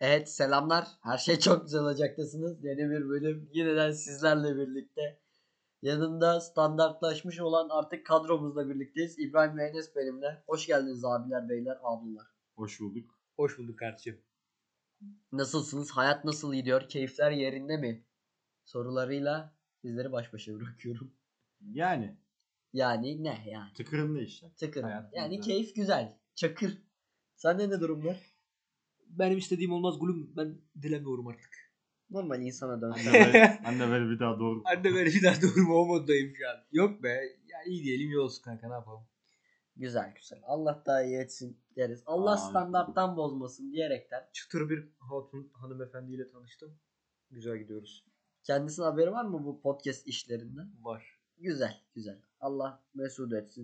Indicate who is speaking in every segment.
Speaker 1: Evet selamlar. Her şey çok güzel olacaktasınız. Yeni bir bölüm yeniden sizlerle birlikte. Yanımda standartlaşmış olan artık kadromuzla birlikteyiz. İbrahim ve Enes benimle. Hoş geldiniz abiler, beyler, ablalar.
Speaker 2: Hoş bulduk.
Speaker 3: Hoş bulduk kardeşim.
Speaker 1: Nasılsınız? Hayat nasıl gidiyor? Keyifler yerinde mi? Sorularıyla sizleri baş başa bırakıyorum.
Speaker 2: Yani
Speaker 1: Yani ne yani?
Speaker 2: tıkırında işte.
Speaker 1: Tıkır.
Speaker 2: Hayat
Speaker 1: yani
Speaker 2: güzel.
Speaker 1: keyif güzel. Çakır. Sende ne durumlar?
Speaker 3: Benim istediğim olmaz gülüm. Ben dilemiyorum artık.
Speaker 1: Normal insana dön.
Speaker 2: Anne böyle, anne böyle bir daha doğru.
Speaker 3: Anne ben bir daha doğru o moddayım şu an. Yok be. Ya iyi diyelim iyi olsun kanka ne yapalım.
Speaker 1: Güzel güzel. Allah daha iyi etsin deriz. Allah
Speaker 2: Amin.
Speaker 1: standarttan bozmasın diyerekten.
Speaker 3: Çıtır bir hatun hanımefendiyle tanıştım. Güzel gidiyoruz.
Speaker 1: Kendisine haberi var mı bu podcast işlerinden?
Speaker 3: Var.
Speaker 1: Güzel güzel. Allah mesut etsin.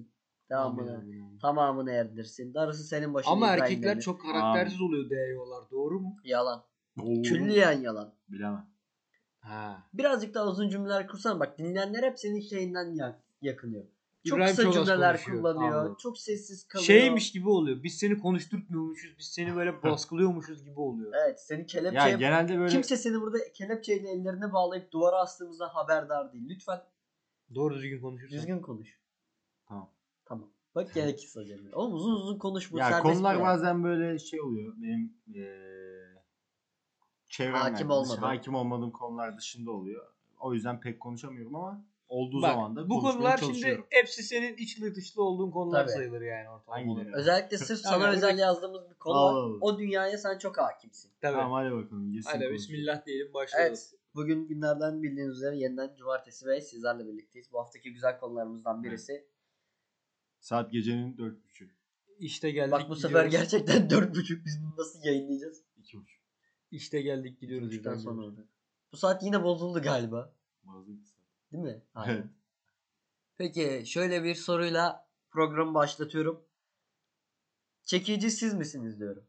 Speaker 2: Amin,
Speaker 1: Tamamını,
Speaker 2: amin, amin.
Speaker 1: tamamını erdirsin. Darısı senin başına.
Speaker 3: Ama
Speaker 1: İbrahim
Speaker 3: erkekler
Speaker 1: Demir.
Speaker 3: çok karaktersiz oluyor değiyorlar doğru mu?
Speaker 1: Yalan.
Speaker 2: Oo,
Speaker 1: Külliyen yalan.
Speaker 2: Bilemem.
Speaker 3: Ha.
Speaker 1: Birazcık daha uzun cümleler kursan bak dinleyenler hep senin şeyinden ya- yakınıyor. Çok
Speaker 3: İbrahim
Speaker 1: kısa
Speaker 3: çok az
Speaker 1: cümleler
Speaker 3: konuşuyor.
Speaker 1: kullanıyor.
Speaker 2: Anladım.
Speaker 1: Çok sessiz kalıyor.
Speaker 3: Şeymiş gibi oluyor. Biz seni konuşturtmuyormuşuz. Biz seni böyle baskılıyormuşuz gibi oluyor.
Speaker 1: Evet seni kelepçeye...
Speaker 2: Ya genelde böyle
Speaker 1: şey Kimse seni burada kelepçeyle ellerine bağlayıp duvara astığımızda haberdar değil. Lütfen
Speaker 3: Doğru düzgün konuşursan.
Speaker 1: Düzgün konuş.
Speaker 2: Tamam.
Speaker 1: Tamam. Bak gerekirse Cemil. Oğlum uzun uzun konuş bu
Speaker 2: ya
Speaker 1: serbest
Speaker 2: konular
Speaker 1: bir yer.
Speaker 2: bazen böyle şey oluyor. Benim eee çevremden
Speaker 1: Hakim
Speaker 2: dış-
Speaker 1: olmadığın.
Speaker 2: hakim olmadığım konular dışında oluyor. O yüzden pek konuşamıyorum ama olduğu
Speaker 3: Bak,
Speaker 2: zaman da
Speaker 3: bu
Speaker 2: konuşmaya
Speaker 3: konular şimdi
Speaker 2: çalışıyorum.
Speaker 3: hepsi senin içli dışlı olduğun konular
Speaker 1: Tabii.
Speaker 3: sayılır yani ortalama.
Speaker 2: Hangileri?
Speaker 3: olarak.
Speaker 1: Özellikle sırf sana
Speaker 3: Aynen.
Speaker 1: özel yazdığımız bir konu
Speaker 2: Allah
Speaker 1: var.
Speaker 2: Allah.
Speaker 1: O dünyaya sen çok hakimsin.
Speaker 3: Tabii.
Speaker 2: Tamam hadi bakalım. girsin
Speaker 3: Hadi
Speaker 2: konuşalım.
Speaker 3: bismillah diyelim
Speaker 1: Evet.
Speaker 3: başlıyoruz.
Speaker 1: Bugün günlerden bildiğiniz üzere yeniden cumartesi ve sizlerle birlikteyiz. Bu haftaki güzel konularımızdan birisi.
Speaker 2: Saat gecenin dört buçuk.
Speaker 3: İşte geldik
Speaker 1: Bak bu sefer
Speaker 3: gidiyoruz.
Speaker 1: gerçekten dört buçuk. Biz bunu nasıl yayınlayacağız?
Speaker 2: iki buçuk.
Speaker 3: İşte geldik gidiyoruz.
Speaker 1: Üçten
Speaker 3: İbrahim.
Speaker 1: sonra olacak. Bu saat yine bozuldu galiba.
Speaker 2: Bazen bir saat.
Speaker 1: Değil mi?
Speaker 2: Evet.
Speaker 1: Peki şöyle bir soruyla programı başlatıyorum. Çekici siz misiniz diyorum.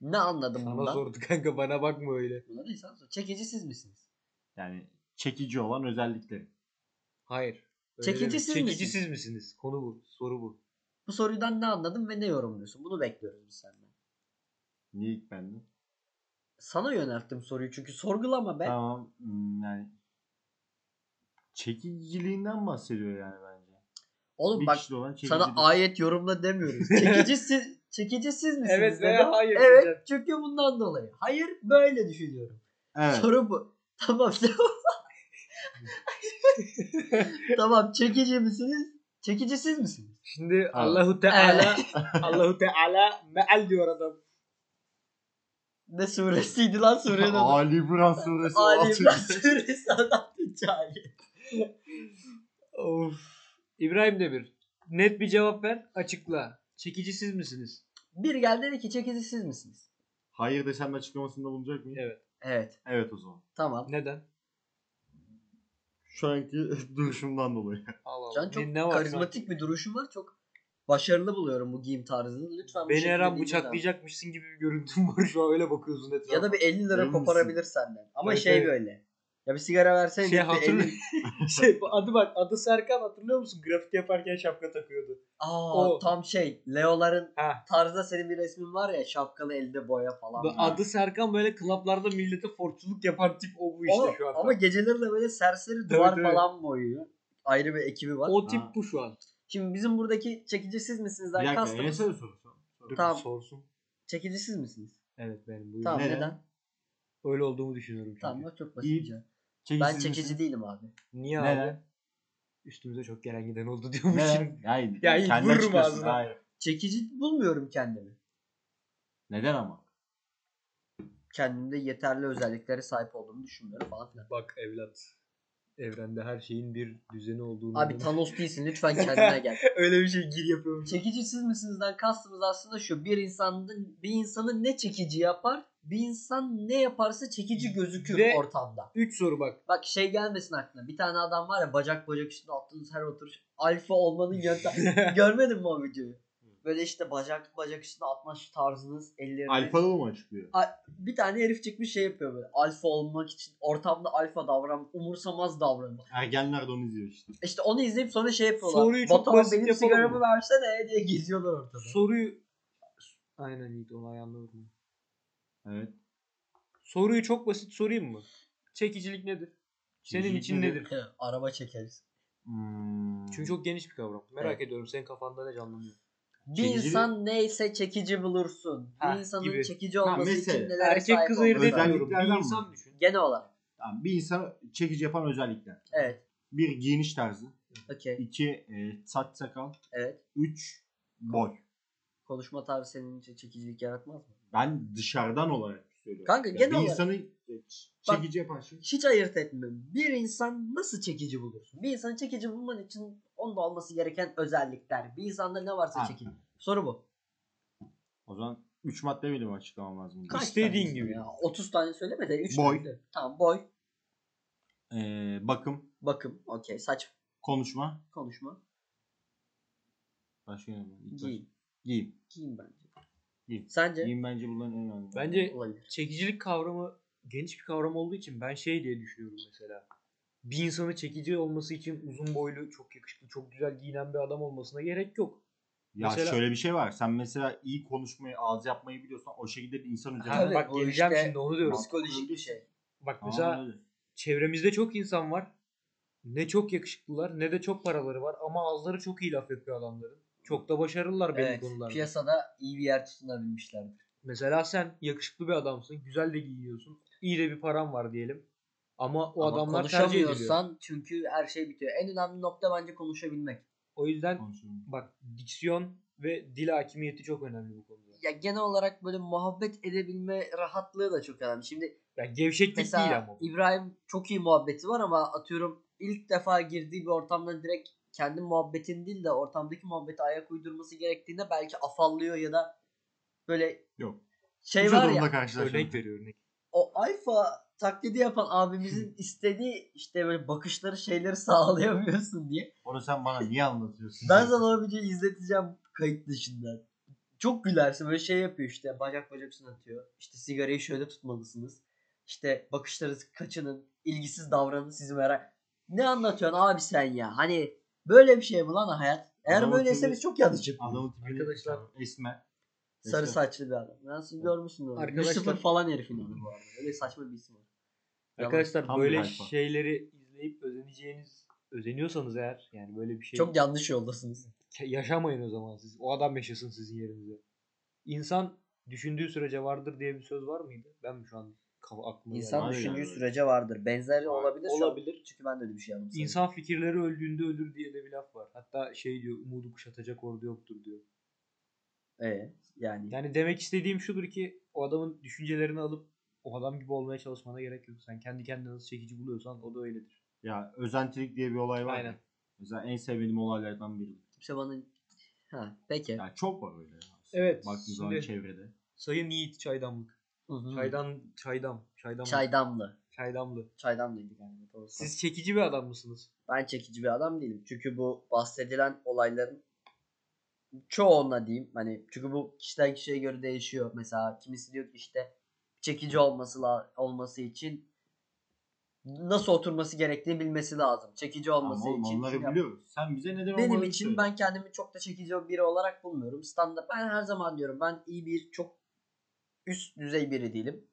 Speaker 1: Ne anladım
Speaker 3: Sana
Speaker 1: bundan?
Speaker 3: sordu kanka bana bakma öyle.
Speaker 1: Buna değil sen sor. Çekici siz misiniz?
Speaker 2: Yani çekici olan özellikleri.
Speaker 3: Hayır.
Speaker 1: Çekici siz
Speaker 3: Çekici
Speaker 1: misiniz?
Speaker 3: siz misiniz? Konu bu. Soru bu.
Speaker 1: Bu sorudan ne anladın ve ne yorumluyorsun? Bunu bekliyoruz biz senden.
Speaker 2: Niye ilk bende?
Speaker 1: Sana yönelttim soruyu çünkü sorgulama be.
Speaker 2: Tamam hmm, yani çekiciliğinden bahsediyor yani bence.
Speaker 1: Oğlum
Speaker 2: Bir
Speaker 1: bak
Speaker 2: kişide olan çekici.
Speaker 1: sana ayet yorumla demiyoruz. Çekici siz, çekici siz misiniz?
Speaker 3: Evet veya
Speaker 1: dedim.
Speaker 3: hayır
Speaker 1: Evet
Speaker 3: diyeceğim.
Speaker 1: çünkü bundan dolayı. Hayır böyle düşünüyorum.
Speaker 2: evet.
Speaker 1: Soru bu. Tamam tamam. tamam çekici misiniz? Çekici siz misiniz?
Speaker 3: Şimdi Allahu Teala Allahu Teala meal diyor adam.
Speaker 1: Ne suresiydi lan surenin adı?
Speaker 2: Ali İmran suresi.
Speaker 1: Ali İmran
Speaker 2: altı.
Speaker 1: suresi anlattı cahil.
Speaker 3: Of. İbrahim Demir. Net bir cevap ver. Açıkla. Çekici siz misiniz?
Speaker 1: Bir geldi dedi ki çekici siz misiniz?
Speaker 2: Hayır desem açıklamasında bulunacak mıyım?
Speaker 3: Evet.
Speaker 1: Evet
Speaker 2: Evet o zaman.
Speaker 1: tamam.
Speaker 3: Neden?
Speaker 2: Şu anki duruşumdan dolayı.
Speaker 3: Allah Allah.
Speaker 1: Can çok
Speaker 3: Ne- ne var
Speaker 1: karizmatik bir duruşu var. Çok başarılı buluyorum bu giyim tarzını. Lütfen bu
Speaker 3: Beni
Speaker 1: şekilde
Speaker 3: her an
Speaker 1: giyinme
Speaker 3: bıçaklayacakmışsın gibi bir görüntüm var şu an öyle bakıyorsun
Speaker 1: devam.
Speaker 3: etrafa.
Speaker 1: Ya da bir 50 lira
Speaker 2: Emin misin?
Speaker 1: koparabilir senden. Ama
Speaker 3: Evet,
Speaker 1: şey
Speaker 3: evet.
Speaker 1: böyle. Ya bir sigara versene.
Speaker 3: şey
Speaker 1: deyip de
Speaker 3: hatırlıyor
Speaker 1: 50
Speaker 3: şey, bu adı bak adı Serkan hatırlıyor musun? Grafik yaparken şapka takıyordu.
Speaker 1: Aa
Speaker 3: O.
Speaker 1: tam şey. Leoların
Speaker 3: Ha.
Speaker 1: tarzda senin bir resmin var ya şapkalı elde boya falan.
Speaker 3: bu Adı Serkan böyle klaplarda millete forçuluk yapan tip o bu işte
Speaker 1: o,
Speaker 3: şu an.
Speaker 1: ama geceleri de böyle serseri duvar
Speaker 3: evet.
Speaker 1: falan boyuyor. Ayrı bir ekibi var.
Speaker 3: o tip
Speaker 2: Ha.
Speaker 3: bu şu an.
Speaker 1: Şimdi bizim buradaki çekici siz misiniz?
Speaker 2: Bir dakika
Speaker 1: Kastım.
Speaker 2: Enes'e de sor. sor.
Speaker 3: Dur,
Speaker 1: Tamam.
Speaker 3: Sorsun.
Speaker 1: Çekici siz misiniz?
Speaker 3: Evet benim bu.
Speaker 1: Tamam
Speaker 2: Neden?
Speaker 1: neden?
Speaker 3: Öyle olduğumu düşünüyorum çünkü.
Speaker 1: Tamam bak çok basitçe.
Speaker 2: Çekici
Speaker 1: Ben çekici değilim abi.
Speaker 3: Niye abi?
Speaker 2: Neden?
Speaker 3: Üstümüze çok gelen giden oldu diyormuşum.
Speaker 2: Neden? Hayır.
Speaker 3: Ya,
Speaker 2: kendi
Speaker 3: vururum
Speaker 2: açıklasın.
Speaker 3: ağzına.
Speaker 2: Hayır.
Speaker 1: Çekici bulmuyorum kendimi.
Speaker 2: Neden ama?
Speaker 1: kendimde yeterli özelliklere sahip olduğumu düşünmüyorum falan filan.
Speaker 3: Bak evlat. Evrende her şeyin bir düzeni olduğunu.
Speaker 1: Abi Thanos değilsin lütfen kendine gel.
Speaker 3: öyle bir şey gir yapıyorum.
Speaker 1: Çekici siz misinizden kastımız aslında şu. Bir insanda bir insanı ne çekici yapar? Bir insan ne yaparsa çekici gözükür
Speaker 3: Ve-
Speaker 1: ortamda.
Speaker 3: 3 soru bak.
Speaker 1: Bak şey gelmesin aklına. Bir tane adam var ya bacak bacak üstüne attığınız her oturuş alfa olmanın yöntemi. Görmedin mi o videoyu? Böyle işte bacak bacak üstüne atma şu tarzınız, ellerini.
Speaker 2: Alfalı mı açıklıyor?
Speaker 1: Bir tane herif çıkmış şey yapıyor böyle. Alfa olmak için ortamda alfa davran, umursamaz davranma.
Speaker 2: Ergenler de onu izliyor işte.
Speaker 1: İşte onu izleyip sonra şey yapıyorlar.
Speaker 3: Soruyu çok
Speaker 1: Batuhan
Speaker 3: basit
Speaker 1: benim
Speaker 3: yapalım
Speaker 1: sigaramı
Speaker 3: mı?
Speaker 1: versene diye geziyorlar ortada.
Speaker 3: Soruyu aynen iyi onu ayağımda vurdum.
Speaker 2: Evet.
Speaker 3: Soruyu çok basit sorayım mı? Çekicilik nedir? Senin
Speaker 2: Çekicilik
Speaker 3: için
Speaker 2: nedir?
Speaker 3: nedir?
Speaker 1: Araba çekeriz.
Speaker 2: Hmm.
Speaker 3: Çünkü çok geniş bir kavram. Merak
Speaker 1: Evet.
Speaker 3: ediyorum senin kafanda ne canlanıyor?
Speaker 1: Bir
Speaker 2: Çekici-
Speaker 1: insan neyse çekici bulursun.
Speaker 3: Ha,
Speaker 1: bir insanın
Speaker 3: Ah, gibi.
Speaker 1: çekici olması
Speaker 2: mesela.
Speaker 1: için nelere
Speaker 3: Erkek
Speaker 1: sahip
Speaker 3: kız
Speaker 1: olması
Speaker 3: ayırt
Speaker 1: lazım?
Speaker 2: Özellikle-
Speaker 3: etmiyorum. Bir
Speaker 2: Özelliklerden mi?
Speaker 3: insan düşün.
Speaker 1: Genel olarak.
Speaker 2: Tamam, bir insanı çekici yapan özellikler.
Speaker 1: Evet.
Speaker 2: Bir giyiniş tarzı.
Speaker 1: Okey.
Speaker 2: iki e, saç sakal.
Speaker 1: Evet.
Speaker 2: Üç boy.
Speaker 1: Konuşma tarzı senin için çekicilik yaratmaz mı?
Speaker 2: Ben dışarıdan olarak söylüyorum.
Speaker 1: Kanka,
Speaker 2: Yani
Speaker 1: genel
Speaker 2: bir
Speaker 1: olarak.
Speaker 2: insanı e, çekici yapan şey.
Speaker 1: Hiç ayırt etmiyorum. Bir insan nasıl çekici bulursun? Bir insanı çekici bulman için onda olması gereken özellikler. Bir insanda ne varsa
Speaker 2: Ha.
Speaker 1: çekici. Soru bu.
Speaker 2: O zaman 3 madde benim açıklamam lazım.
Speaker 1: Kaç
Speaker 3: İstediğin
Speaker 1: tane
Speaker 3: gibi.
Speaker 1: Ya? 30 tane söyleme de 3
Speaker 2: Boy.
Speaker 1: tane. söyle. Tamam boy.
Speaker 2: Ee, bakım,
Speaker 1: Bakım. Okey. Saç.
Speaker 2: konuşma,
Speaker 1: Konuşma.
Speaker 2: başka ne var? İlk baş-
Speaker 1: Giyim.
Speaker 2: Giyim.
Speaker 1: Giyim bence.
Speaker 2: Giyim.
Speaker 1: Sence?
Speaker 2: Giyim bence bunların en önemli.
Speaker 3: Bence
Speaker 1: Olabilir.
Speaker 3: çekicilik kavramı geniş bir kavram olduğu için ben şey diye düşünüyorum mesela. Bir insanın çekici olması için uzun boylu, çok yakışıklı, çok güzel giyinen bir adam olmasına gerek yok.
Speaker 2: ya
Speaker 3: mesela-
Speaker 2: şöyle bir şey var. Sen mesela iyi konuşmayı, ağız yapmayı biliyorsan o şekilde bir insan üzerine
Speaker 3: Ha,
Speaker 1: Tabii,
Speaker 3: bak
Speaker 1: o
Speaker 3: geleceğim
Speaker 1: işte-
Speaker 3: şimdi onu diyorum.
Speaker 1: Psikolojik bir şey.
Speaker 3: Bak
Speaker 2: Tamam,
Speaker 3: mesela
Speaker 2: öyle.
Speaker 3: çevremizde çok insan var. Ne çok yakışıklılar ne de çok paraları var ama ağızları çok iyi laf yapıyor adamların. Çok da başarılılar benim
Speaker 1: Evet,
Speaker 3: konularda.
Speaker 1: piyasada iyi bir yer tutunabilmişlerdir.
Speaker 3: Mesela sen yakışıklı bir adamsın, güzel de giyiniyorsun, iyi de bir paran var diyelim. Ama o
Speaker 1: Ama
Speaker 3: adamlar tercih ediliyor.
Speaker 1: konuşamıyorsan çünkü her şey bitiyor. En önemli nokta bence konuşabilmek.
Speaker 3: O yüzden
Speaker 2: Konuşuyorum.
Speaker 3: bak diksiyon ve dil hakimiyeti çok önemli bu konuda.
Speaker 1: Ya genel olarak böyle muhabbet edebilme rahatlığı da çok önemli. Şimdi
Speaker 3: Ya gevşeklik değil
Speaker 1: Mesela
Speaker 3: ama. bu.
Speaker 1: İbrahim çok iyi muhabbeti var ama atıyorum ilk defa girdiği bir ortamda direkt kendi muhabbetin değil de ortamdaki muhabbete ayak uydurması gerektiğinde belki afallıyor ya da böyle
Speaker 2: Yok.
Speaker 1: şey
Speaker 2: Şu
Speaker 1: var
Speaker 2: durumda
Speaker 1: ya
Speaker 2: karşılaştım.
Speaker 3: Örnek veriyor örnek.
Speaker 1: o alfa taklidi yapan abimizin istediği işte böyle bakışları şeyleri sağlayamıyorsun diye.
Speaker 2: Onu sen bana niye anlatıyorsun?
Speaker 1: Ben sana o videoyu izleteceğim kayıt dışında. Çok gülersin böyle şey yapıyor işte bacak bacak üstüne atıyor. İşte sigarayı şöyle tutmalısınız. İşte bakışları kaçının, ilgisiz davranın sizi merak. Ne anlatıyorsun abi sen ya? Hani böyle bir şey mi lan hayat? Eğer
Speaker 2: Adamın
Speaker 1: böyleyse
Speaker 2: tipi-
Speaker 1: biz çok yanlış yapıyoruz.
Speaker 2: Adamın tipini
Speaker 3: Arkadaşlar-
Speaker 2: esmer.
Speaker 1: Sarı
Speaker 2: Esmer.
Speaker 1: saçlı bir adam. Ben siz görmüşsün onu.
Speaker 3: Arkadaşlar-
Speaker 1: 1-0 falan herifin adı bu arada. Öyle saçma bir isim var. Yalan.
Speaker 3: Arkadaşlar
Speaker 2: tam bir
Speaker 3: böyle
Speaker 2: alfa.
Speaker 3: şeyleri izleyip özeneceğiniz özeniyorsanız eğer yani böyle bir şey
Speaker 1: Çok yanlış yoldasınız.
Speaker 3: ke- yaşamayın o zaman siz. O adam yaşasın sizin yerinize. İnsan düşündüğü sürece vardır diye bir söz var mıydı? Ben mi şu an kafa aklıma geldi?
Speaker 1: İnsan
Speaker 2: Aynen
Speaker 1: düşündüğü
Speaker 2: öyle.
Speaker 1: sürece vardır. Benzeri
Speaker 2: Var.
Speaker 1: olabilir. şu an.
Speaker 3: Olabilir.
Speaker 1: Çünkü ben de öyle bir şey yaptım.
Speaker 3: İnsan fikirleri öldüğünde ölür diye de bir laf var. Hatta şey diyor umudu kuşatacak ordu yoktur diyor.
Speaker 1: Evet. Yani.
Speaker 3: Yani demek istediğim şudur ki o adamın düşüncelerini alıp o adam gibi olmaya çalışmana gerek yok. Sen kendi kendine nasıl çekici buluyorsan o da öyledir.
Speaker 2: Ya özentilik diye bir olay var. ya.
Speaker 3: Aynen.
Speaker 2: Mesela en sevmediğim olaylardan biri.
Speaker 1: Kimse bana... Ha, peki.
Speaker 2: Yani çok var öyle.
Speaker 3: Evet,
Speaker 2: Baktığın zaman
Speaker 3: şimdi-
Speaker 2: çevrede.
Speaker 3: Sayın Yiğit Çaydanlık.
Speaker 1: Hı-hı.
Speaker 3: Çaydan, çaydam, çaydam,
Speaker 1: Çaydamlı.
Speaker 3: çaydamlı.
Speaker 1: Çaydamlıydı galiba. doğrusu.
Speaker 3: Siz çekici bir adam mısınız?
Speaker 1: Ben çekici bir adam değilim. Çünkü bu bahsedilen olayların çoğunla diyeyim. Hani çünkü bu kişiden kişiye göre değişiyor. Mesela kimisi diyor ki işte çekici olması la- olması için nasıl oturması gerektiğini bilmesi lazım. Çekici olması
Speaker 2: Ama oğlum
Speaker 1: için. şunu
Speaker 2: onları
Speaker 1: yap-
Speaker 2: biliyoruz. Sen bize neden
Speaker 1: Benim
Speaker 2: olmadığını
Speaker 1: için
Speaker 2: söyle.
Speaker 1: ben kendimi çok da çekici biri olarak bulmuyorum. Standart ben her zaman diyorum ben iyi bir çok üst düzey biri değilim.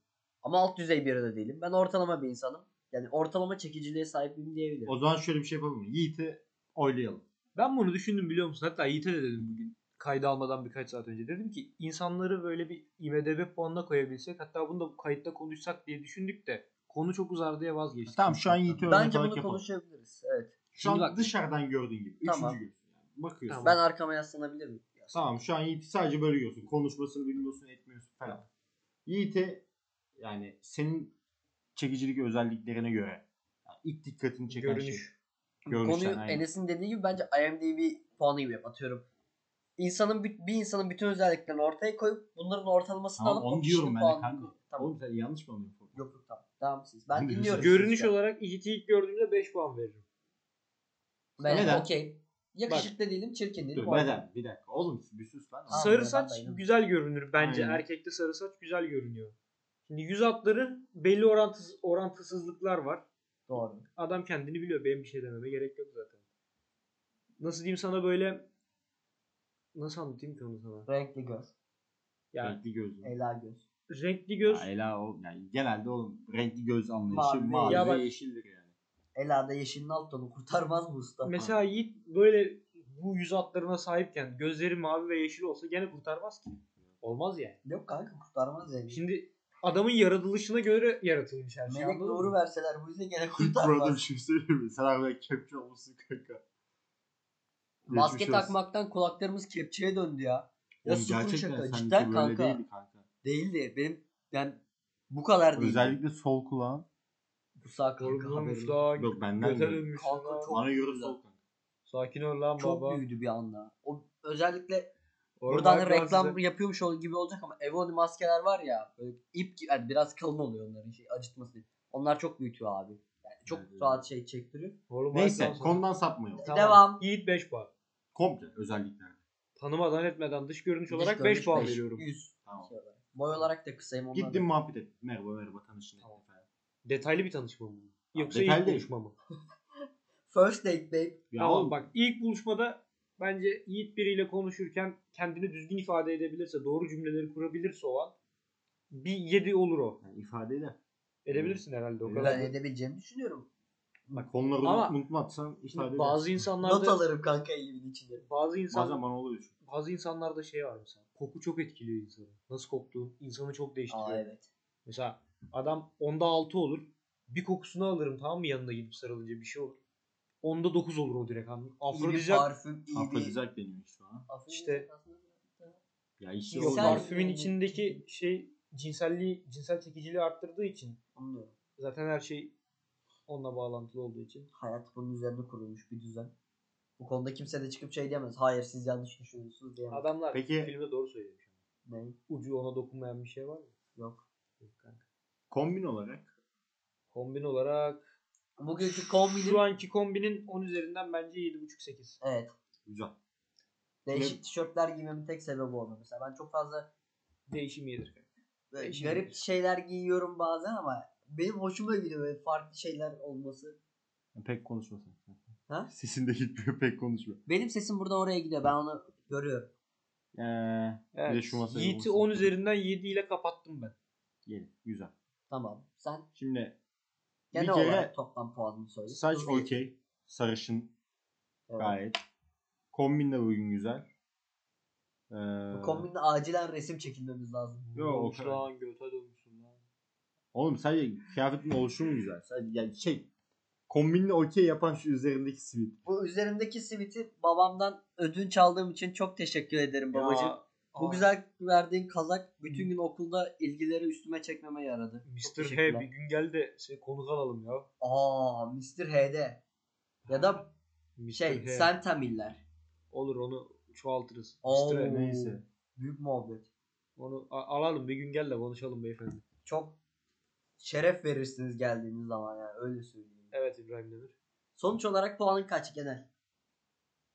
Speaker 1: Ama alt düzey biri de değilim. Ben ortalama bir insanım. Yani ortalama çekiciliğe sahibim diyebilirim.
Speaker 2: O zaman şöyle bir şey yapalım. mı? Yiğit'i oylayalım.
Speaker 3: Ben bunu düşündüm biliyor musun? Hatta Yiğit'e de dedim bugün kayda almadan birkaç saat önce. Dedim ki insanları böyle bir IMDB puanına koyabilsek hatta bunu da bu kayıtta konuşsak diye düşündük de konu çok uzar diye vazgeçtik.
Speaker 2: Tamam şu an Yiğit'i örnek
Speaker 1: Bence
Speaker 2: olarak
Speaker 1: bunu
Speaker 2: yapalım.
Speaker 1: konuşabiliriz. Evet.
Speaker 2: Şu an
Speaker 3: Şimdi bak-
Speaker 2: dışarıdan gördüğün gibi. Üçüncü
Speaker 1: Tamam.
Speaker 2: gözün. Yani Bakıyorsun.
Speaker 1: Ben arkama yaslanabilir miyim?
Speaker 2: Tamam şu an Yiğit'i sadece böyle görüyorsun. Konuşmasını bilmiyorsun, etmiyorsun falan. Yiğit'e yani senin çekicilik özelliklerine göre yani ilk dikkatini çeken
Speaker 3: Görünüş.
Speaker 2: şey. Görünüşten,
Speaker 1: Konuyu
Speaker 2: aynen.
Speaker 1: Enes'in dediği gibi bence IMDb puanı gibi yap. Atıyorum. İnsanın büt- bir insanın bütün özelliklerini ortaya koyup bunların ortalamasını
Speaker 2: Tamam,
Speaker 1: alıp
Speaker 2: onu
Speaker 1: o kişinin
Speaker 2: diyorum ben de
Speaker 1: puanını-
Speaker 2: kanka.
Speaker 1: Tamam.
Speaker 2: Oğlum sen yanlış mı anlıyorsun?
Speaker 1: Yok yok tamam. Devam siz. Ben
Speaker 2: Görünüş-
Speaker 1: dinliyorum.
Speaker 3: Görünüş
Speaker 1: sizi.
Speaker 3: olarak Yiğit'i ilk gördüğümde 5 puan veririm.
Speaker 1: Ben
Speaker 2: Neden?
Speaker 1: okey. Yakışıklı değilim, çirkin değilim.
Speaker 2: Dur
Speaker 1: o ayrı.
Speaker 2: neden? Bir dakika. Oğlum bir sus lan.
Speaker 1: Aa,
Speaker 3: sarı
Speaker 1: ben
Speaker 3: saç
Speaker 1: bayılırım.
Speaker 3: güzel görünür bence.
Speaker 2: Aynen.
Speaker 3: Erkekte sarı saç güzel görünüyor. Şimdi yüz hatları belli orantısız, orantısızlıklar var.
Speaker 1: Doğru.
Speaker 3: Adam kendini biliyor. Benim bir şey dememe gerek yok zaten. Nasıl diyeyim sana böyle nasıl anlatayım ki onu sana?
Speaker 1: Renkli göz,
Speaker 3: Yani
Speaker 2: Renkli gözlü.
Speaker 1: ela göz.
Speaker 3: renkli göz.
Speaker 2: Ela o yani genelde oğlum renkli göz anlayışı
Speaker 1: Mavi,
Speaker 2: mavi,
Speaker 1: ya bak-
Speaker 2: ve yeşildir yani.
Speaker 1: Ela'da yeşilin alt tonu kurtarmaz mı usta?
Speaker 3: Mesela Yiğit böyle bu yüz hatlarına sahipken gözleri mavi ve yeşil olsa gene kurtarmaz ki. Olmaz yani.
Speaker 1: Yok kanka kurtarmaz yani.
Speaker 3: Şimdi adamın yaratılışına göre yaratılmış her şey.
Speaker 1: Melek
Speaker 3: anladın
Speaker 1: doğru
Speaker 3: mı?
Speaker 1: verseler bu yüzden gene
Speaker 2: Big Brother
Speaker 1: kurtarmaz.
Speaker 2: şey söyleyeyim mi? Sen harbiden kepçe olmuşsun kanka.
Speaker 1: Maske
Speaker 2: Geçmiş olsun.
Speaker 1: takmaktan kulaklarımız kepçeye döndü ya. Ya
Speaker 2: Oğlum
Speaker 1: sıfır
Speaker 2: gerçekten
Speaker 1: şaka.
Speaker 2: seninki
Speaker 1: Cidden
Speaker 2: böyle
Speaker 1: kanka.
Speaker 2: değildi kanka.
Speaker 1: Değildi. Benim ben bu kadar değil.
Speaker 2: Özellikle sol kulağın.
Speaker 1: bu sağ kanka
Speaker 3: Yorgunlamış
Speaker 1: haberim.
Speaker 3: lan.
Speaker 2: Yok benden
Speaker 3: Göte
Speaker 2: değil.
Speaker 3: dönmüş
Speaker 1: Kanka
Speaker 3: lan.
Speaker 1: çok-
Speaker 2: Bana göre
Speaker 1: güzel.
Speaker 2: sol kanka.
Speaker 3: Sakin ol lan
Speaker 1: Çok
Speaker 3: baba.
Speaker 1: büyüdü bir anda. O özellikle
Speaker 3: Oğlum
Speaker 1: buradan
Speaker 3: bak
Speaker 1: da
Speaker 3: lan
Speaker 1: hani reklam
Speaker 3: size.
Speaker 1: yapıyormuş ol gibi olacak ama Evoli maskeler var ya böyle ip gibi- yani biraz kalın oluyor onların şey acıtması. değil. Onlar çok büyütüyor abi. Yani çok
Speaker 2: Evet.
Speaker 1: rahat şey çektiriyor.
Speaker 3: Oğlum bak
Speaker 2: Neyse
Speaker 3: lan sana.
Speaker 2: konudan sapmayalım.
Speaker 1: Tamam. Devam.
Speaker 3: Yiğit 5 puan.
Speaker 2: Komple özellikler.
Speaker 3: Tanımadan etmeden dış görünüş olarak
Speaker 1: Dış
Speaker 3: 5
Speaker 1: görünüş
Speaker 3: puan
Speaker 1: beş,
Speaker 3: veriyorum.
Speaker 1: yüz
Speaker 2: Tamam.
Speaker 1: şey olarak. Boy olarak da kısayım ondan.
Speaker 2: Gittim muhabbet ettim. Merhaba merhaba tanışın.
Speaker 3: Tamam. Detaylı bir tanışma mı?
Speaker 2: Ya,
Speaker 3: Yoksa
Speaker 2: detaylı
Speaker 3: ilk
Speaker 2: değil.
Speaker 3: buluşma mı?
Speaker 1: First date babe.
Speaker 2: Ya
Speaker 3: tamam
Speaker 2: oğlum,
Speaker 3: bak ilk buluşmada bence Yiğit biriyle konuşurken kendini düzgün ifade edebilirse, doğru cümleleri kurabilirse o an bir 7 olur o.
Speaker 2: yani ifadeyle.
Speaker 3: Edebilirsin herhalde o
Speaker 2: Ben
Speaker 3: kadar.
Speaker 1: Ben
Speaker 3: da.
Speaker 1: edebileceğimi düşünüyorum.
Speaker 2: Bak konuları
Speaker 3: Ama-
Speaker 2: unut- unutmazsan ifade
Speaker 3: Şimdi
Speaker 2: bazı,
Speaker 3: bazı
Speaker 1: Not
Speaker 3: insanlarda
Speaker 1: alırım kanka elimin içinde.
Speaker 3: bazı
Speaker 2: Bazen
Speaker 3: insan
Speaker 2: bana oluyor şu.
Speaker 3: bazı insanlarda şey var mesela. Koku çok etkiliyor insanı. Nasıl koktuğu insanı çok değiştiriyor.
Speaker 1: Aa evet.
Speaker 3: Mesela adam onda 6 olur. Bir kokusunu alırım tamam mı yanına gidip sarılınca bir şey olur. Onda 9 olur o direkt. anladın mı?
Speaker 1: İyi bir
Speaker 3: Afrodizyak
Speaker 1: parfüm, iyi bir...
Speaker 2: Afrodizyak deniyor şu an.
Speaker 1: Afrodizyak
Speaker 3: İşte-
Speaker 1: aslında-
Speaker 2: Ya işte
Speaker 3: Yok
Speaker 2: o
Speaker 1: Cinsel-
Speaker 3: parfümün içindeki şey cinselliği, cinsel çekiciliği arttırdığı için
Speaker 1: Anlıyorum.
Speaker 3: zaten her şey onunla bağlantılı olduğu için.
Speaker 1: Hayat bunun üzerine kurulmuş bir düzen. Bu konuda kimse de çıkıp şey diyemez. Hayır siz yanlış düşünüyorsunuz diyemez.
Speaker 3: Adamlar
Speaker 2: Peki-
Speaker 3: filmde doğru söylüyor.
Speaker 1: Ne?
Speaker 3: Ucu ona dokunmayan bir şey var mı?
Speaker 1: Yok.
Speaker 3: Yok kanka.
Speaker 2: kombin olarak
Speaker 3: Kombin olarak
Speaker 1: Bugünkü kombinin...
Speaker 3: şu anki kombinin 10 üzerinden bence 7.5-8.
Speaker 1: Evet.
Speaker 2: güzel.
Speaker 1: Değişik tişörtler giymemin tek sebebi oldu. Mesela ben çok fazla
Speaker 3: Değişim yedir kanka.
Speaker 1: böyle
Speaker 3: Değişik
Speaker 1: garip
Speaker 3: bir-
Speaker 1: şeyler giyiyorum bazen ama benim hoşuma gidiyor böyle farklı şeyler olması.
Speaker 2: Pek konuşmasın.
Speaker 1: Ha?
Speaker 2: Sesin de gitmiyor pek konuşmuyor.
Speaker 1: Benim sesim burada oraya gidiyor. Ben onu görüyorum.
Speaker 2: Ee,
Speaker 3: Evet.
Speaker 2: Bir de şu masaya
Speaker 3: Yiğit'i
Speaker 2: vursak.
Speaker 3: 10 üzerinden 7 ile kapattım ben.
Speaker 2: yeni, güzel.
Speaker 1: Tamam. Sen
Speaker 2: Şimdi
Speaker 1: genel
Speaker 2: kere
Speaker 1: olarak toplam puanını söyle.
Speaker 2: saç
Speaker 1: Hızlı-
Speaker 2: okey. Sarışın
Speaker 1: Evet.
Speaker 2: gayet. Kombin de bugün güzel. Ee,
Speaker 1: Bu kombinle acilen resim çekilmemiz lazım.
Speaker 2: Yok, o
Speaker 3: Olmuş
Speaker 2: kadar.
Speaker 3: lan göte dönmüşsün lan.
Speaker 2: Oğlum sadece kıyafetin oluşumu güzel. Sadece yani şey kombinle okey yapan şu üzerindeki sivit.
Speaker 1: Bu üzerimdeki siviti babamdan ödünç aldığım için çok teşekkür ederim babacığım.
Speaker 3: Ya, ah,
Speaker 1: Bu
Speaker 3: aa,
Speaker 1: güzel verdiğin kazak bütün gün okulda ilgileri üstüme çekmeme yaradı. Çok
Speaker 3: Mr. H
Speaker 1: teşekkürler.
Speaker 3: bir gün gel de seni konuk alalım ya.
Speaker 1: Aa, Mr. H'de. Ya da
Speaker 3: Mr.
Speaker 1: şey,
Speaker 3: H.
Speaker 1: Sentamiller.
Speaker 3: Olur onu çoğaltırız.
Speaker 1: Oo.
Speaker 3: Mr. H.
Speaker 2: Neyse.
Speaker 1: Büyük muhabbet.
Speaker 3: Onu a- alalım bir gün gel de konuşalım beyefendi.
Speaker 1: Çok şeref verirsiniz geldiğiniz zaman yani öyle söyleyeyim.
Speaker 3: Evet İbrahim Demir.
Speaker 1: Sonuç olarak puanın kaç genel?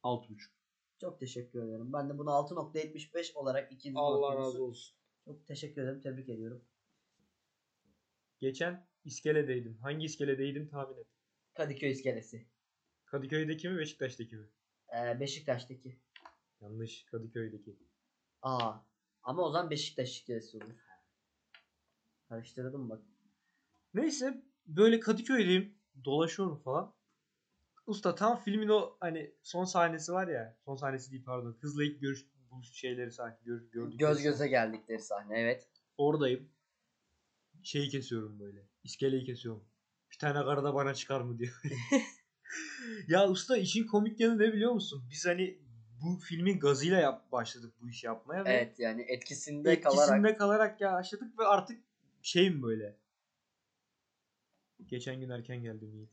Speaker 2: 6.5.
Speaker 1: Çok teşekkür ederim. Ben de bunu 6.75 olarak ikinci
Speaker 3: Allah
Speaker 1: noktamızı-
Speaker 3: razı olsun.
Speaker 1: Çok teşekkür ederim. Tebrik ediyorum.
Speaker 3: Geçen iskeledeydim. Hangi iskeledeydim tahmin et.
Speaker 1: Kadıköy iskelesi.
Speaker 3: Kadıköy'deki mi Beşiktaş'taki mi?
Speaker 1: Ee, Beşiktaş'taki.
Speaker 3: Yanlış Kadıköy'deki.
Speaker 1: Aa. Ama o zaman Beşiktaş iskelesi olur. Karıştırdım bak.
Speaker 3: Neyse böyle Kadıköy'deyim. Dolaşıyorum falan. Usta tam filmin o hani son sahnesi var ya. Son sahnesi değil pardon. Hızla ilk görüş buluş şeyleri sanki gör, gördük.
Speaker 1: Göz göze geldikleri sahne evet.
Speaker 3: Oradayım. Şeyi kesiyorum böyle. İskeleyi kesiyorum. Bir tane karı da bana çıkar mı diyor. ya usta işin komik yanı ne biliyor musun? Biz hani bu filmin gazıyla yap, başladık bu işi yapmaya. ve
Speaker 1: Evet yani etkisinde,
Speaker 3: etkisinde
Speaker 1: kalarak.
Speaker 3: kalarak. ya başladık ve artık şeyim böyle. Geçen gün erken geldim iyi.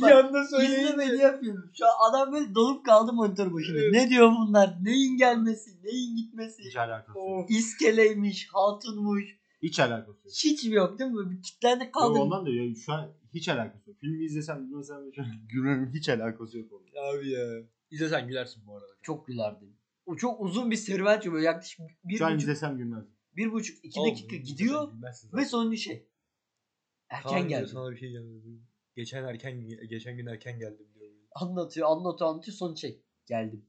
Speaker 1: Bak,
Speaker 3: anda
Speaker 1: İzlemedi yapıyorum. Şu an adam böyle donup kaldı monitör başında.
Speaker 3: Evet.
Speaker 1: Ne diyor bunlar? Neyin gelmesi? Neyin gitmesi?
Speaker 2: Hiç alakası yok.
Speaker 3: Of.
Speaker 1: İskeleymiş, hatunmuş.
Speaker 2: Hiç alakası yok.
Speaker 1: Hiç mi yok değil mi? Bir kitlendi
Speaker 2: Yok
Speaker 1: kaldı.
Speaker 2: ondan da ya şu an hiç alakası yok. Filmi izlesem izlesem de şu an gülmemin hiç alakası yok onunla.
Speaker 3: Abi ya. İzlesen gülersin bu arada.
Speaker 1: Çok gülerdim. O çok uzun bir serüven çünkü böyle yaklaşık bir
Speaker 2: Şu an
Speaker 1: buçuk,
Speaker 2: izlesem gülmezdim.
Speaker 1: bir buçuk, iki
Speaker 3: Oğlum,
Speaker 1: dakika
Speaker 3: izlesen
Speaker 1: gidiyor
Speaker 3: gülmezsin zaten.
Speaker 1: ve sonuncu şey. Erken
Speaker 3: Kaan diyor,
Speaker 1: geldi.
Speaker 3: Sana bir şey geldi. Geçen erken geçen gün erken geldim diyor.
Speaker 1: Anlatıyor, anlatıyor, anlatıyor son şey. Geldim.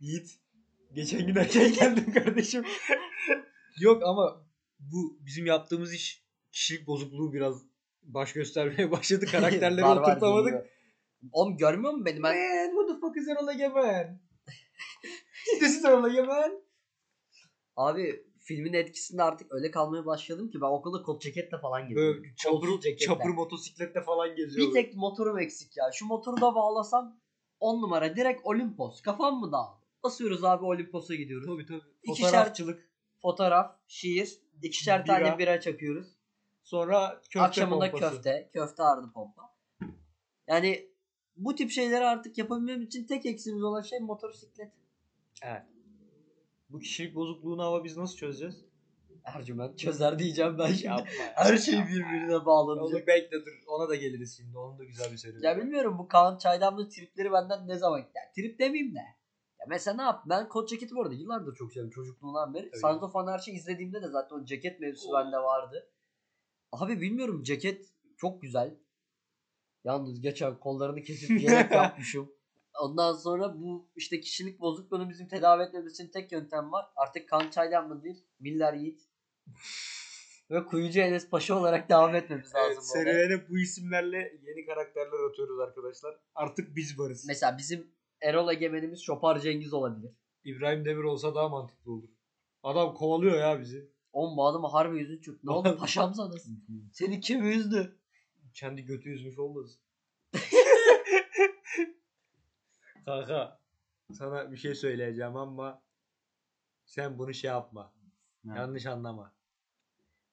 Speaker 3: Yiğit Geçen gün erken geldim kardeşim. Yok ama bu bizim yaptığımız iş kişilik bozukluğu biraz baş göstermeye başladı. Karakterleri
Speaker 1: Barbar
Speaker 3: oturtamadık.
Speaker 1: geliyor. Oğlum görmüyor musun beni? Ben
Speaker 3: Man, what the fuck is Erol Egemen? This is Erol Egemen.
Speaker 1: abi filmin etkisinde artık öyle kalmaya başladım ki ben okulda kot ceketle falan geziyorum.
Speaker 3: Böyle çapır,
Speaker 1: ceketle.
Speaker 3: çapır motosiklette falan geziyor.
Speaker 1: Bir tek motorum eksik ya. Şu motoru da bağlasam 10 numara direkt Olimpos. Kafam mı dağıldı? Basıyoruz abi Olimpos'a gidiyoruz.
Speaker 3: Tabii tabii.
Speaker 1: İkişer-
Speaker 3: Fotoğrafçılık.
Speaker 1: Fotoğraf, şiir, ikişer
Speaker 3: Bira.
Speaker 1: tane bira çakıyoruz.
Speaker 3: Sonra köfte
Speaker 1: Akşamında
Speaker 3: pompası.
Speaker 1: köfte, köfte ardı pompa. Yani bu tip şeyleri artık yapabilmem için tek eksimiz olan şey motosiklet.
Speaker 3: Bu kişilik bozukluğunu ama biz nasıl çözeceğiz?
Speaker 1: Ercüment çözer diyeceğim ben şimdi.
Speaker 3: ya.
Speaker 1: Her şey birbirine bağlanacak.
Speaker 3: Onu bekle dur. Ona da geliriz şimdi. Onun da güzel bir serüveni.
Speaker 1: Ya bilmiyorum bu Kaan Çaydanlı tripleri benden ne zaman yani trip demeyeyim de. Ya mesela ne yap? Ben kot ceketi bu arada yıllardır çok seviyorum çocukluğumdan beri.
Speaker 3: Öyle.
Speaker 1: Sons of Anarchy izlediğimde de zaten o ceket mevzusu
Speaker 3: Oo.
Speaker 1: bende vardı. Abi bilmiyorum ceket çok güzel. Yalnız geçen kollarını kesip yelek yapmışım. Ondan sonra bu işte kişilik bozukluğunu bizim tedavi etmemiz için tek yöntem var. Artık kan çaylanma değil, Miller Yiğit. Ve Kuyucu Enes Paşa olarak devam etmemiz lazım.
Speaker 3: Evet,
Speaker 1: bu olaya.
Speaker 3: serüvene bu isimlerle yeni karakterler atıyoruz arkadaşlar. Artık biz varız.
Speaker 1: Mesela bizim Erol Egemen'imiz Şopar Cengiz olabilir.
Speaker 3: İbrahim Demir olsa daha mantıklı olur. Adam kovalıyor ya bizi.
Speaker 1: Oğlum bu adama harbi yüzün çıktı. Ne oldu paşam sana? Seni kim üzdü?
Speaker 3: Kendi götü yüzmüş olmasın. Kanka sana bir şey söyleyeceğim ama sen bunu şey yapma.
Speaker 2: Ne?
Speaker 3: Yanlış anlama.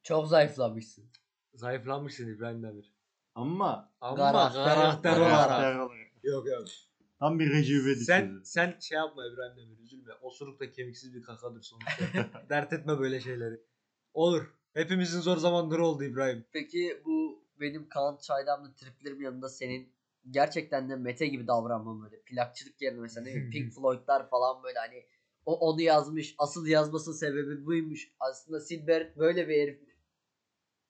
Speaker 1: Çok zayıflamışsın.
Speaker 3: Zayıflanmışsın İbrahim Demir.
Speaker 2: Ama
Speaker 3: Ama
Speaker 1: Gara, gara,
Speaker 3: karakter
Speaker 1: gara.
Speaker 3: olarak. Yok yok.
Speaker 2: Tam bir Recep İvedik
Speaker 3: Sen
Speaker 2: sözü.
Speaker 3: sen şey yapma İbrahim Demir üzülme. Osuruk da kemiksiz bir kakadır sonuçta. Dert etme böyle şeyleri. Olur. Hepimizin zor zamanları oldu İbrahim.
Speaker 1: Peki bu benim Kaan Çaydan'la triplerim yanında senin gerçekten de Mete gibi davranmam böyle. Plakçılık yerine mesela ne bileyim Pink Floyd'lar falan böyle hani o onu yazmış. Asıl yazmasının sebebi buymuş. Aslında Silbert böyle bir herif. Var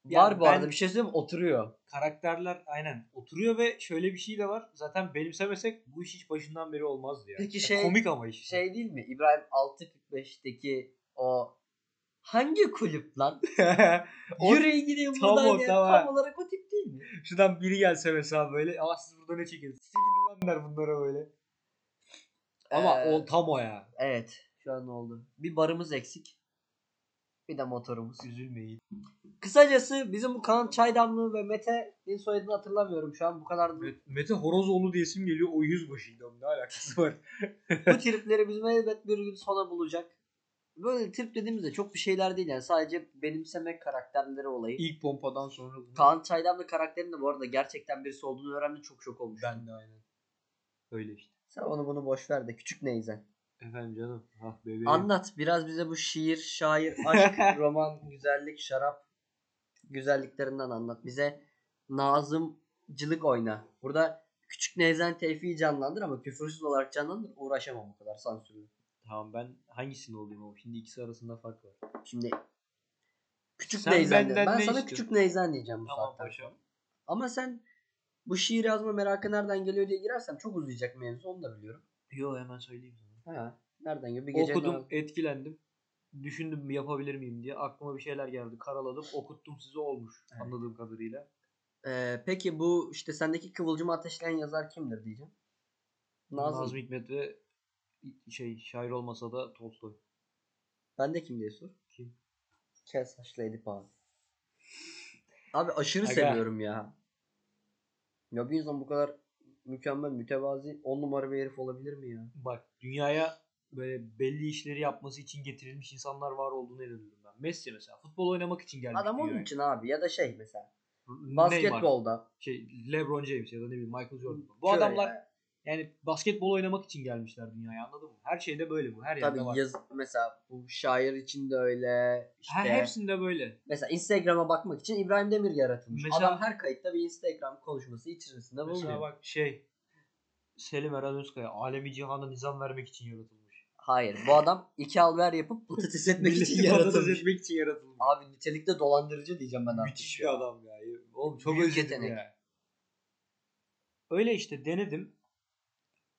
Speaker 3: Yani
Speaker 1: bu
Speaker 3: ben-
Speaker 1: arada bir şey söyleyeyim mi? Oturuyor.
Speaker 3: Karakterler aynen oturuyor ve şöyle bir şey de var. Zaten benimsemesek bu iş hiç başından beri olmazdı ya.
Speaker 1: Peki
Speaker 3: Ya
Speaker 1: şey-
Speaker 3: komik ama iş.
Speaker 1: Şey değil mi? İbrahim 6.45'teki o hangi kulüp lan?
Speaker 3: O-
Speaker 1: Yürü gideyim
Speaker 3: tam
Speaker 1: buradan
Speaker 3: o,
Speaker 1: ya.
Speaker 3: tam
Speaker 1: Tam
Speaker 3: ha.
Speaker 1: olarak o tip değil mi?
Speaker 3: Şuradan biri gelse mesela böyle. Aa siz burada ne çekiyorsunuz? Siz gidin lan der bunlara böyle. Ama
Speaker 1: Ee,
Speaker 3: o tam o ya.
Speaker 1: Evet. Şu an oldu. Bir barımız eksik. Bir de motorumuz.
Speaker 3: Üzülmeyin.
Speaker 1: Kısacası bizim bu Kaan Çaydamlı ve Mete'nin soyadını hatırlamıyorum şu an bu kadar.
Speaker 3: Met- Mete Horozoğlu diye isim geliyor. O yüzbaşıydı. onun Ne alakası var?
Speaker 1: bu tripleri bizim elbet bir gün sona bulacak. Böyle trip dediğimizde çok bir şeyler değil yani sadece benimsemek karakterleri olayı.
Speaker 3: İlk pompadan sonra bunu
Speaker 1: Kaan Çaydamlı karakterinin de bu arada gerçekten birisi olduğunu öğrendim çok şok olmuş.
Speaker 3: Ben de aynen. Öyle işte.
Speaker 1: Sen onu bunu boş ver de küçük neyzen.
Speaker 3: Efendim canım. Ah bebeğim.
Speaker 1: Anlat biraz bize bu şiir, şair, aşk, roman, güzellik, şarap güzelliklerinden anlat. Bize Nazımcılık oyna. Burada küçük Nevzen Tevfik'i canlandır ama küfürsüz olarak canlandır. Uğraşamam o kadar sansürlü.
Speaker 3: Tamam ben hangisini olayım ama şimdi ikisi arasında fark var.
Speaker 1: Şimdi küçük
Speaker 3: Sen
Speaker 1: Neyzen
Speaker 3: benden
Speaker 1: dedim. Ben
Speaker 3: ne
Speaker 1: sana
Speaker 3: istiyorsun?
Speaker 1: küçük Neyzen diyeceğim bu
Speaker 3: Tamam
Speaker 1: saatten.
Speaker 3: paşam.
Speaker 1: Ama sen bu şiir yazma merakı nereden geliyor diye girersem çok uzayacak mevzu onu da biliyorum.
Speaker 3: Yo hemen söyleyeyim sana.
Speaker 1: Ha. Nereden geliyor? Bir gece
Speaker 3: Okudum etkilendim. Düşündüm yapabilir miyim diye. Aklıma bir şeyler geldi. Karaladım okuttum size olmuş.
Speaker 1: Evet.
Speaker 3: Anladığım kadarıyla.
Speaker 1: Ee, peki bu işte sendeki kıvılcımı ateşleyen yazar kimdir diyeceğim.
Speaker 3: Nazım.
Speaker 1: Nazım.
Speaker 3: Hikmet ve şey şair olmasa da Tolstoy.
Speaker 1: Ben de kim diye sor.
Speaker 3: Kim?
Speaker 1: Kel saçlı Edip abi. Abi aşırı
Speaker 3: Aga.
Speaker 1: seviyorum ya. Ya bir insan bu kadar mükemmel, mütevazi, on numara bir herif olabilir mi ya?
Speaker 3: Bak dünyaya böyle belli işleri yapması için getirilmiş insanlar var olduğunu inanıyorum ben. Messi mesela futbol oynamak için gelmiş.
Speaker 1: Adam onun
Speaker 3: dünyaya.
Speaker 1: için abi ya da şey mesela.
Speaker 3: Neymar.
Speaker 1: Basketbolda.
Speaker 3: şey LeBron James ya da ne bileyim Michael Jordan. Bu
Speaker 1: Şöyle
Speaker 3: adamlar
Speaker 1: yani.
Speaker 3: yani basketbol oynamak için gelmişler dünyaya anladın mı? Her şeyde böyle bu. Her yerde
Speaker 1: Tabii
Speaker 3: var.
Speaker 1: yaz, mesela bu şair için de öyle. İşte,
Speaker 3: Her hepsinde böyle.
Speaker 1: Mesela Instagram'a bakmak için İbrahim Demir yaratılmış.
Speaker 3: Mesela-
Speaker 1: Adam her kayıtta bir Instagram konuşması içerisinde
Speaker 3: Mesela
Speaker 1: bulunuyor.
Speaker 3: bak şey Selim Eren Özkaya alemi cihana nizam vermek için yaratılmış.
Speaker 1: Hayır bu adam iki alver yapıp patates etmek için
Speaker 3: Milleti patates
Speaker 1: yaratılmış.
Speaker 3: etmek için yaratılmış.
Speaker 1: Abi nitelikte dolandırıcı diyeceğim ben artık.
Speaker 3: Müthiş
Speaker 1: ya.
Speaker 3: bir adam ya. Oğlum çok
Speaker 1: Büyük
Speaker 3: özledim
Speaker 1: yetenek.
Speaker 3: ya. Öyle işte denedim.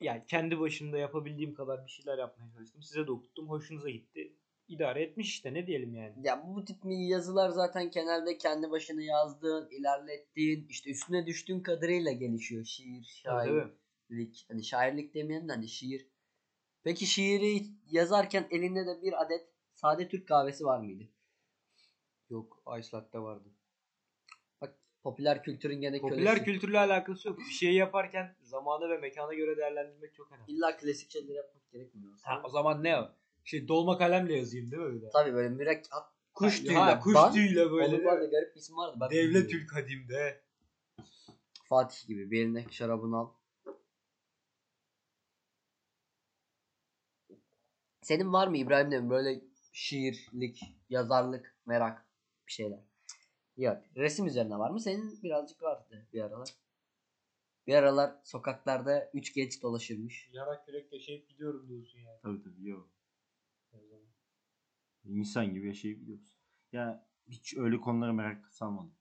Speaker 3: yani kendi başımda yapabildiğim kadar bir şeyler yapmaya çalıştım. Size de okuttum. Hoşunuza gitti. İdare etmiş işte ne diyelim yani.
Speaker 1: Ya bu tip mi yazılar zaten genelde kendi başına yazdığın, ilerlettiğin, işte üstüne düştüğün kadarıyla gelişiyor. Şiir,
Speaker 3: Değil mi?
Speaker 1: şairlik. Hani şairlik demeyelim de hani şiir. Peki şiiri yazarken elinde de bir adet sade Türk kahvesi var mıydı? Yok, Ice Latte vardı. Bak popüler kültürün gene
Speaker 3: E, Popüler
Speaker 1: kölesi.
Speaker 3: kültürle alakası yok. Bir şeyi yaparken zamana ve mekana göre değerlendirmek çok önemli.
Speaker 1: İlla klasik şeyler yapmak gerekmiyor.
Speaker 3: Ha, o zaman ne o? Şey dolma kalemle yazayım değil mi öyle?
Speaker 1: Tabii böyle mürekkep kuş
Speaker 3: Ha,
Speaker 1: tüyüyle.
Speaker 3: kuş
Speaker 1: ban.
Speaker 3: tüyüyle böyle.
Speaker 1: Onun
Speaker 3: değil mi?
Speaker 1: vardı garip bir ismi vardı. Ben
Speaker 3: Devlet
Speaker 1: bilmiyorum.
Speaker 3: ül kadimde.
Speaker 1: Fatih gibi bir eline şarabını al. Senin var mı İbrahim'de böyle şiirlik, yazarlık, merak bir şeyler? Yok. Resim üzerine var mı? Senin birazcık vardı bir aralar. Bir aralar sokaklarda üç genç dolaşırmış.
Speaker 3: Yarak yürek yaşayıp gidiyorum diyorsun yani.
Speaker 2: Tabii tabii yok. İnsan gibi yaşayıp gidiyoruz. Ya hiç öyle konulara merak salmadım.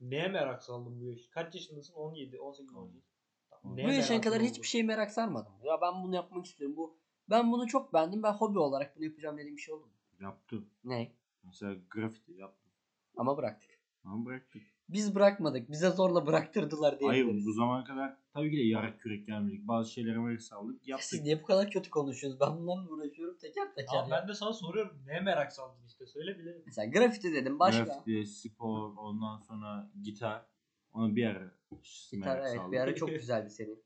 Speaker 3: Neye merak saldın bu yaş? Kaç yaşındasın? 17, 18, 18.
Speaker 2: Tamam.
Speaker 1: Bu yaşına
Speaker 3: merakın
Speaker 1: kadar
Speaker 3: oldu?
Speaker 1: hiçbir şey şeye merak sarmadım. Ya ben bunu yapmak istiyorum. Bu ben bunu çok beğendim. Ben hobi olarak bunu yapacağım dediğim bir şey oldu mu?
Speaker 2: Yaptım.
Speaker 1: Ne?
Speaker 2: Mesela grafiti yaptım.
Speaker 1: Ama bıraktık.
Speaker 2: Ama bıraktık.
Speaker 1: Biz bırakmadık. Bize zorla bıraktırdılar diye.
Speaker 2: Hayır bu zamana kadar tabii ki de yarak kürek gelmedik. Bazı şeylere merak saldık. Yaptık.
Speaker 1: Siz niye bu kadar kötü konuşuyorsunuz? Ben bunlarla uğraşıyorum teker teker.
Speaker 3: Tamam
Speaker 1: ya.
Speaker 3: ben de sana soruyorum. Neye merak saldın işte? Söyle bile.
Speaker 1: Mesela grafiti dedim başka.
Speaker 2: Grafiti, spor, ondan sonra gitar. Ona bir ara
Speaker 1: Gitar
Speaker 2: merak
Speaker 1: evet
Speaker 2: saldım.
Speaker 1: bir ara çok güzeldi senin.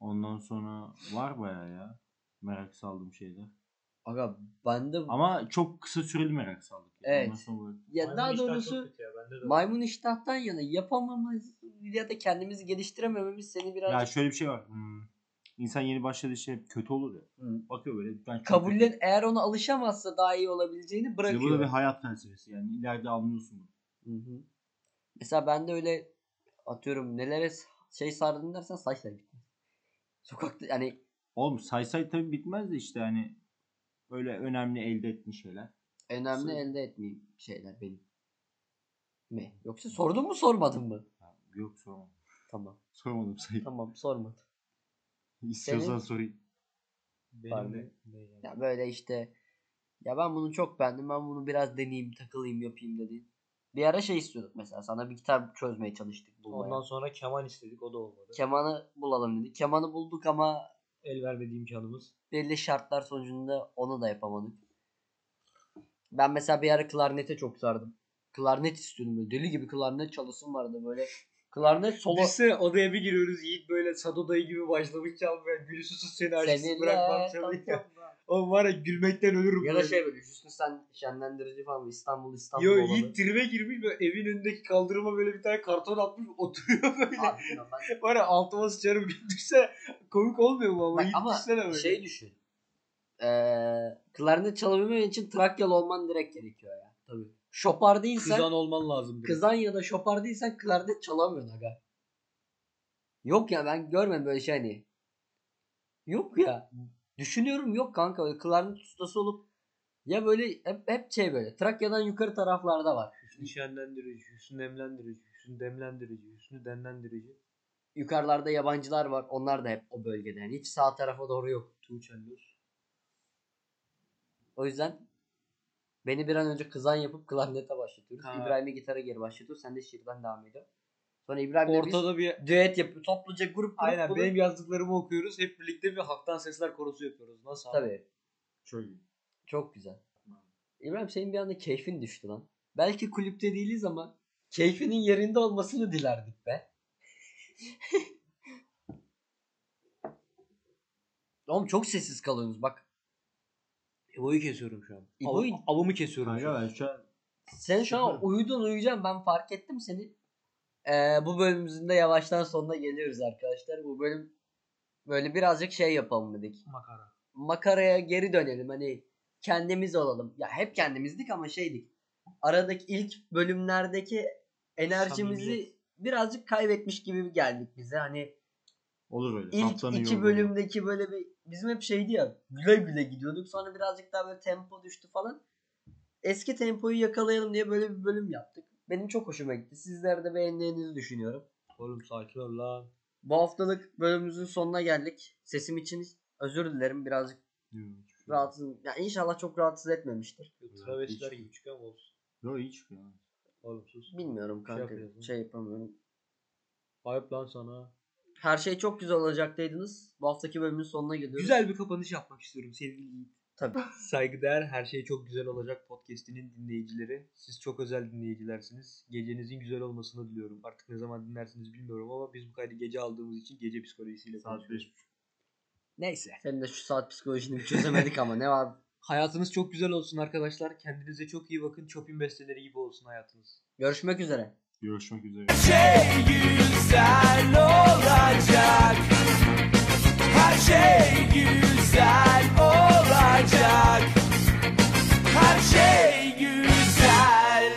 Speaker 2: Ondan sonra var baya ya. Merak saldım şeyler.
Speaker 1: Aga ben de
Speaker 2: Ama çok kısa süreli merak saldık. yani.
Speaker 1: Evet.
Speaker 2: Ondan sonra bıraktık.
Speaker 1: ya
Speaker 3: Maymun
Speaker 1: daha
Speaker 3: iştah çok
Speaker 1: doğrusu
Speaker 3: kötü ya, bende de var.
Speaker 1: maymun iştahtan yana yapamamız ya da kendimizi geliştiremememiz seni biraz
Speaker 2: Ya şöyle bir şey var. Hmm. İnsan yeni başladığı şey hep kötü olur ya.
Speaker 1: Hı.
Speaker 2: Bakıyor böyle. Ben çok
Speaker 1: Hmm. kabullen
Speaker 2: kötü.
Speaker 1: eğer ona alışamazsa daha iyi olabileceğini
Speaker 2: İşte
Speaker 1: bırakıyor.
Speaker 2: bu da bir hayat felsefesi yani. ileride anlıyorsun bunu.
Speaker 1: Hı hı. Mesela ben de öyle atıyorum nelere s- şey sardım dersen saçlar gitmez. Sokakta yani
Speaker 2: Oğlum say say tabii bitmez de işte hani böyle önemli elde ettiğin şeyler. Hani,
Speaker 1: önemli
Speaker 2: Sen-
Speaker 1: elde etmeyeyim şeyler benim. Mi? Yoksa sordun mu sormadın mı?
Speaker 2: Ha, Yok sormadım.
Speaker 1: Tamam.
Speaker 2: Sormadım say.
Speaker 1: Tamam sormadım.
Speaker 2: İstiyorsan
Speaker 1: Senin-
Speaker 2: sorayım.
Speaker 1: Var
Speaker 3: Benim de.
Speaker 1: mı?
Speaker 3: ne yani?
Speaker 1: Ya böyle işte ya ben bunu çok beğendim ben bunu biraz deneyeyim takılayım yapayım dediğin. Bir ara şey istiyorduk mesela sana bir kitap çözmeye çalıştık bulmaya.
Speaker 3: Ondan sonra keman istedik. O da olmadı.
Speaker 1: Kemanı bulalım dedik. Kemanı bulduk ama
Speaker 3: El vermedi imkanımız.
Speaker 1: belli şartlar sonucunda onu da yapamadık. Ben mesela bir ara klarnete çok sardım. Klarnet istiyordum böyle deli gibi klarnet çalasım vardı böyle. Klarnet solo
Speaker 3: Lise odaya bir giriyoruz. Yiğit böyle Sadodayı gibi başlamış çalmaya. Gülü susuz seni aşksız bırakmam çalıyor. Oğlum var ya gülmekten ölürüm.
Speaker 1: ya da
Speaker 3: böyle.
Speaker 1: şey böyle Hüsnü sen şenlendirici falan İstanbul İstanbul
Speaker 3: Yo
Speaker 1: olanı.
Speaker 3: Yiğit tribe girmiş böyle evin önündeki kaldırıma böyle bir tane karton atmış oturuyor böyle.
Speaker 1: Abi, ben-
Speaker 3: Var ya altıma sıçarım gündüzse komik olmuyor mu ama
Speaker 1: Bak
Speaker 3: Yiğit
Speaker 1: ama
Speaker 3: düşsene böyle.
Speaker 1: şey düşün. Ee, klarnet çalabilmen için Trakyalı olman direkt gerekiyor ya. Tabii. Şopar değilsen, kızan,
Speaker 3: olman lazım.
Speaker 1: ya da şopar değilsen klarnet çalamıyorsun aga. Yok ya ben görmedim böyle şey hani. Yok ya. Düşünüyorum yok kanka. Böyle klarnet ustası olup ya böyle hep, hep şey böyle. Trakya'dan yukarı taraflarda var.
Speaker 3: Hüsnü şenlendirici, hüsnü nemlendirici, hüsnü demlendirici, hüsnü denlendirici.
Speaker 1: Yukarılarda yabancılar var. Onlar da hep o bölgede. Yani hiç sağ tarafa doğru yok.
Speaker 3: Tuğçen Nur.
Speaker 1: O yüzden beni bir an önce kızan yapıp klarnete başlatıyoruz.
Speaker 3: Ha.
Speaker 1: İbrahim'i gitara geri başlatıyoruz. Sen de şiirden devam ediyorsun. Sonra İbrahim'le
Speaker 3: Ortada bir
Speaker 1: biz düet yapıyoruz. Topluca grup grup
Speaker 3: aynen
Speaker 1: bunu-
Speaker 3: benim yazdıklarımı okuyoruz. Hep birlikte bir halktan sesler korosu yapıyoruz. Nasıl? abi?
Speaker 1: Tabii.
Speaker 2: Şöyle.
Speaker 1: Çok güzel. İbrahim senin bir anda keyfin düştü lan. Belki kulüpte değiliz ama keyfinin yerinde olmasını dilerdik be. Oğlum çok sessiz kalıyorsunuz bak.
Speaker 3: İbo'yu kesiyorum şu an.
Speaker 1: İbo'yu-
Speaker 3: Av- avımı kesiyorum şu
Speaker 2: Kanka
Speaker 3: an.
Speaker 2: ben şu an
Speaker 1: Sen şu an
Speaker 2: Şükür.
Speaker 1: uyudun uyuyacaksın ben fark ettim seni. Ee, bu bölümümüzün de yavaştan sonuna geliyoruz arkadaşlar. Bu bölüm böyle birazcık şey yapalım dedik.
Speaker 3: Makara.
Speaker 1: Makaraya geri dönelim hani kendimiz olalım. Ya hep kendimizdik ama şeydik. Aradaki ilk bölümlerdeki enerjimizi
Speaker 3: Samimiyet.
Speaker 1: birazcık kaybetmiş gibi geldik bize. Hani
Speaker 2: olur öyle.
Speaker 1: ilk
Speaker 2: Haftanın
Speaker 1: iki
Speaker 2: yorgunluğu.
Speaker 1: bölümdeki böyle bir bizim hep şeydi ya güle güle gidiyorduk. Sonra birazcık daha böyle tempo düştü falan. Eski tempoyu yakalayalım diye böyle bir bölüm yaptık. Benim çok hoşuma gitti. Sizler de beğendiğinizi düşünüyorum.
Speaker 3: Oğlum sakin ol lan.
Speaker 1: Bu haftalık bölümümüzün sonuna geldik. Sesim için özür dilerim birazcık rahatsızım. Ya inşallah çok rahatsız etmemiştir.
Speaker 3: Travestiler gibi çıkan olsun.
Speaker 2: Yok iyi çıkıyor. abi.
Speaker 3: Oğlum sus.
Speaker 1: Bilmiyorum kanka.
Speaker 3: yapıyorsun.
Speaker 1: şey yapamıyorum.
Speaker 3: Ayıp lan sana.
Speaker 1: Her şey çok güzel olacaktaydınız. Bu haftaki bölümün sonuna geliyoruz.
Speaker 3: Güzel bir kapanış yapmak istiyorum sevgili Yiğit.
Speaker 1: Tabii.
Speaker 3: Saygıdeğer Her Şey Çok Güzel Olacak podcastinin dinleyicileri. Siz çok özel dinleyicilersiniz. Gecenizin güzel olmasını diliyorum. Artık ne zaman dinlersiniz bilmiyorum ama biz bu kaydı gece aldığımız için gece psikolojisiyle
Speaker 2: Saat
Speaker 3: konuşuyoruz.
Speaker 2: 5.
Speaker 3: Neyse.
Speaker 1: Senin de şu saat psikolojini bir çözemedik ama ne var?
Speaker 3: Hayatınız çok güzel olsun arkadaşlar. Kendinize çok iyi bakın. Chopin besteleri gibi olsun hayatınız.
Speaker 1: Görüşmek üzere.
Speaker 2: Görüşmek üzere.
Speaker 4: şey güzel olacak Her şey güzel olacak Her şey güzel